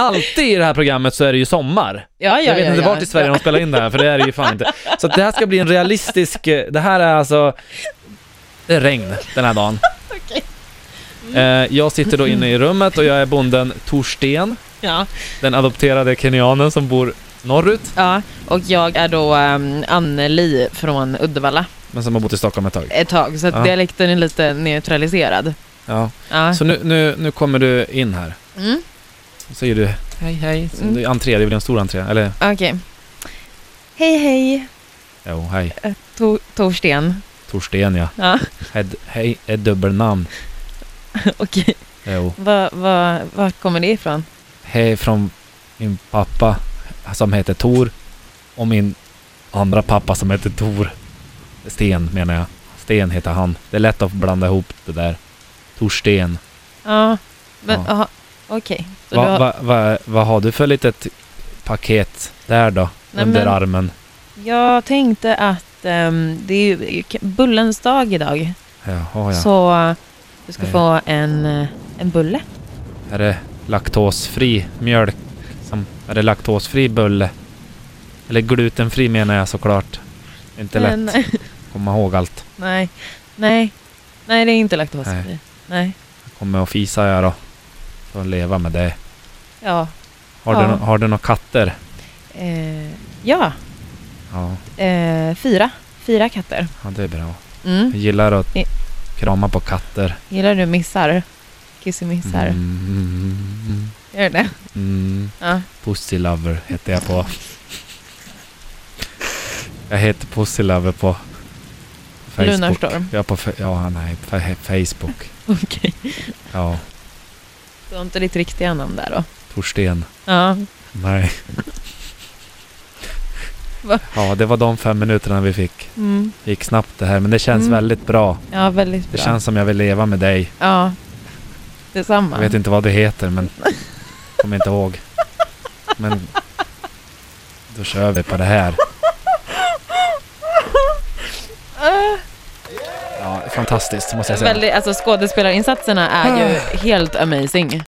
alltid i det här programmet så är det ju sommar. Ja, ja, Jag vet ja, inte ja, vart i Sverige ja. de spelar in det här, för det är det ju fan inte. Så att det här ska bli en realistisk, eh, det här är alltså, det är regn den här dagen. Okej. Mm. Eh, Jag sitter då inne i rummet och jag är bonden Torsten, Ja. den adopterade kenyanen som bor norrut, ja, och jag är då um, Anneli från Uddevalla men som har bott i Stockholm ett tag. ett tag, så att Ja. dialekten är lite neutraliserad. Ja. Ja. Så nu, nu, nu kommer du in här, Mm. så säger du hej hej, så Mm. det är entré, det är väl en stor entré, eller Okej. Hej, hej, jo, hej, Tor- Torsten. Torsten ja, Ja, Hed- hej är dubbelnamn, okej. jo. Va, va, vart kommer det ifrån? Hej från min pappa som heter Tor och min andra pappa som heter Tor. Sten menar jag. Sten heter han. Det är lätt att blanda ihop det där. Torsten. Ja, men Ja. aha, okej. Så Vad du har- va, va, vad har du för litet paket där då? Nej, under men- armen? Jag tänkte att ehm, det är ju k- bullens dag idag. Jaha Ah, ja. Så eh, du ska Ja. få en, eh, en bulle. Är det laktosfri mjölk? Som, är det laktosfri bulle? Eller glutenfri menar jag såklart. Inte lätt Men- att komma ihåg allt. Nej, nej, nej det är inte laktosfri. Nej. Jag kommer att fisa jag då. Får leva med det. Ja. Har, Ja. du, nå- har du några katter? Eh, ja, Ja. eh, fyra. Fyra katter. ja, det är bra. Mm. Jag gillar att I- krama på katter. Gillar du missar? Kissemissar? Mm, Gör du det? mm, Ja. pussy lover heter jag på. Jag heter pussy lover på Facebook. Lunarstorm. Ja, på fe- ja, nej, fe- Facebook. Okej. Ja, Du har inte ditt riktiga namn där då? Torsten. Ja. Nej. Va? Ja, det var de fem minuterna vi fick. Mm. Gick snabbt det här, men det känns Mm. väldigt bra. Ja, väldigt bra. Det känns som jag vill leva med dig. Ja. Detsamma. Jag vet inte vad det heter, men kommer inte ihåg. Men då kör vi på det här. Ja, fantastiskt måste jag säga. Ah. Väldigt, alltså skådespelarinsatserna är ju helt amazing.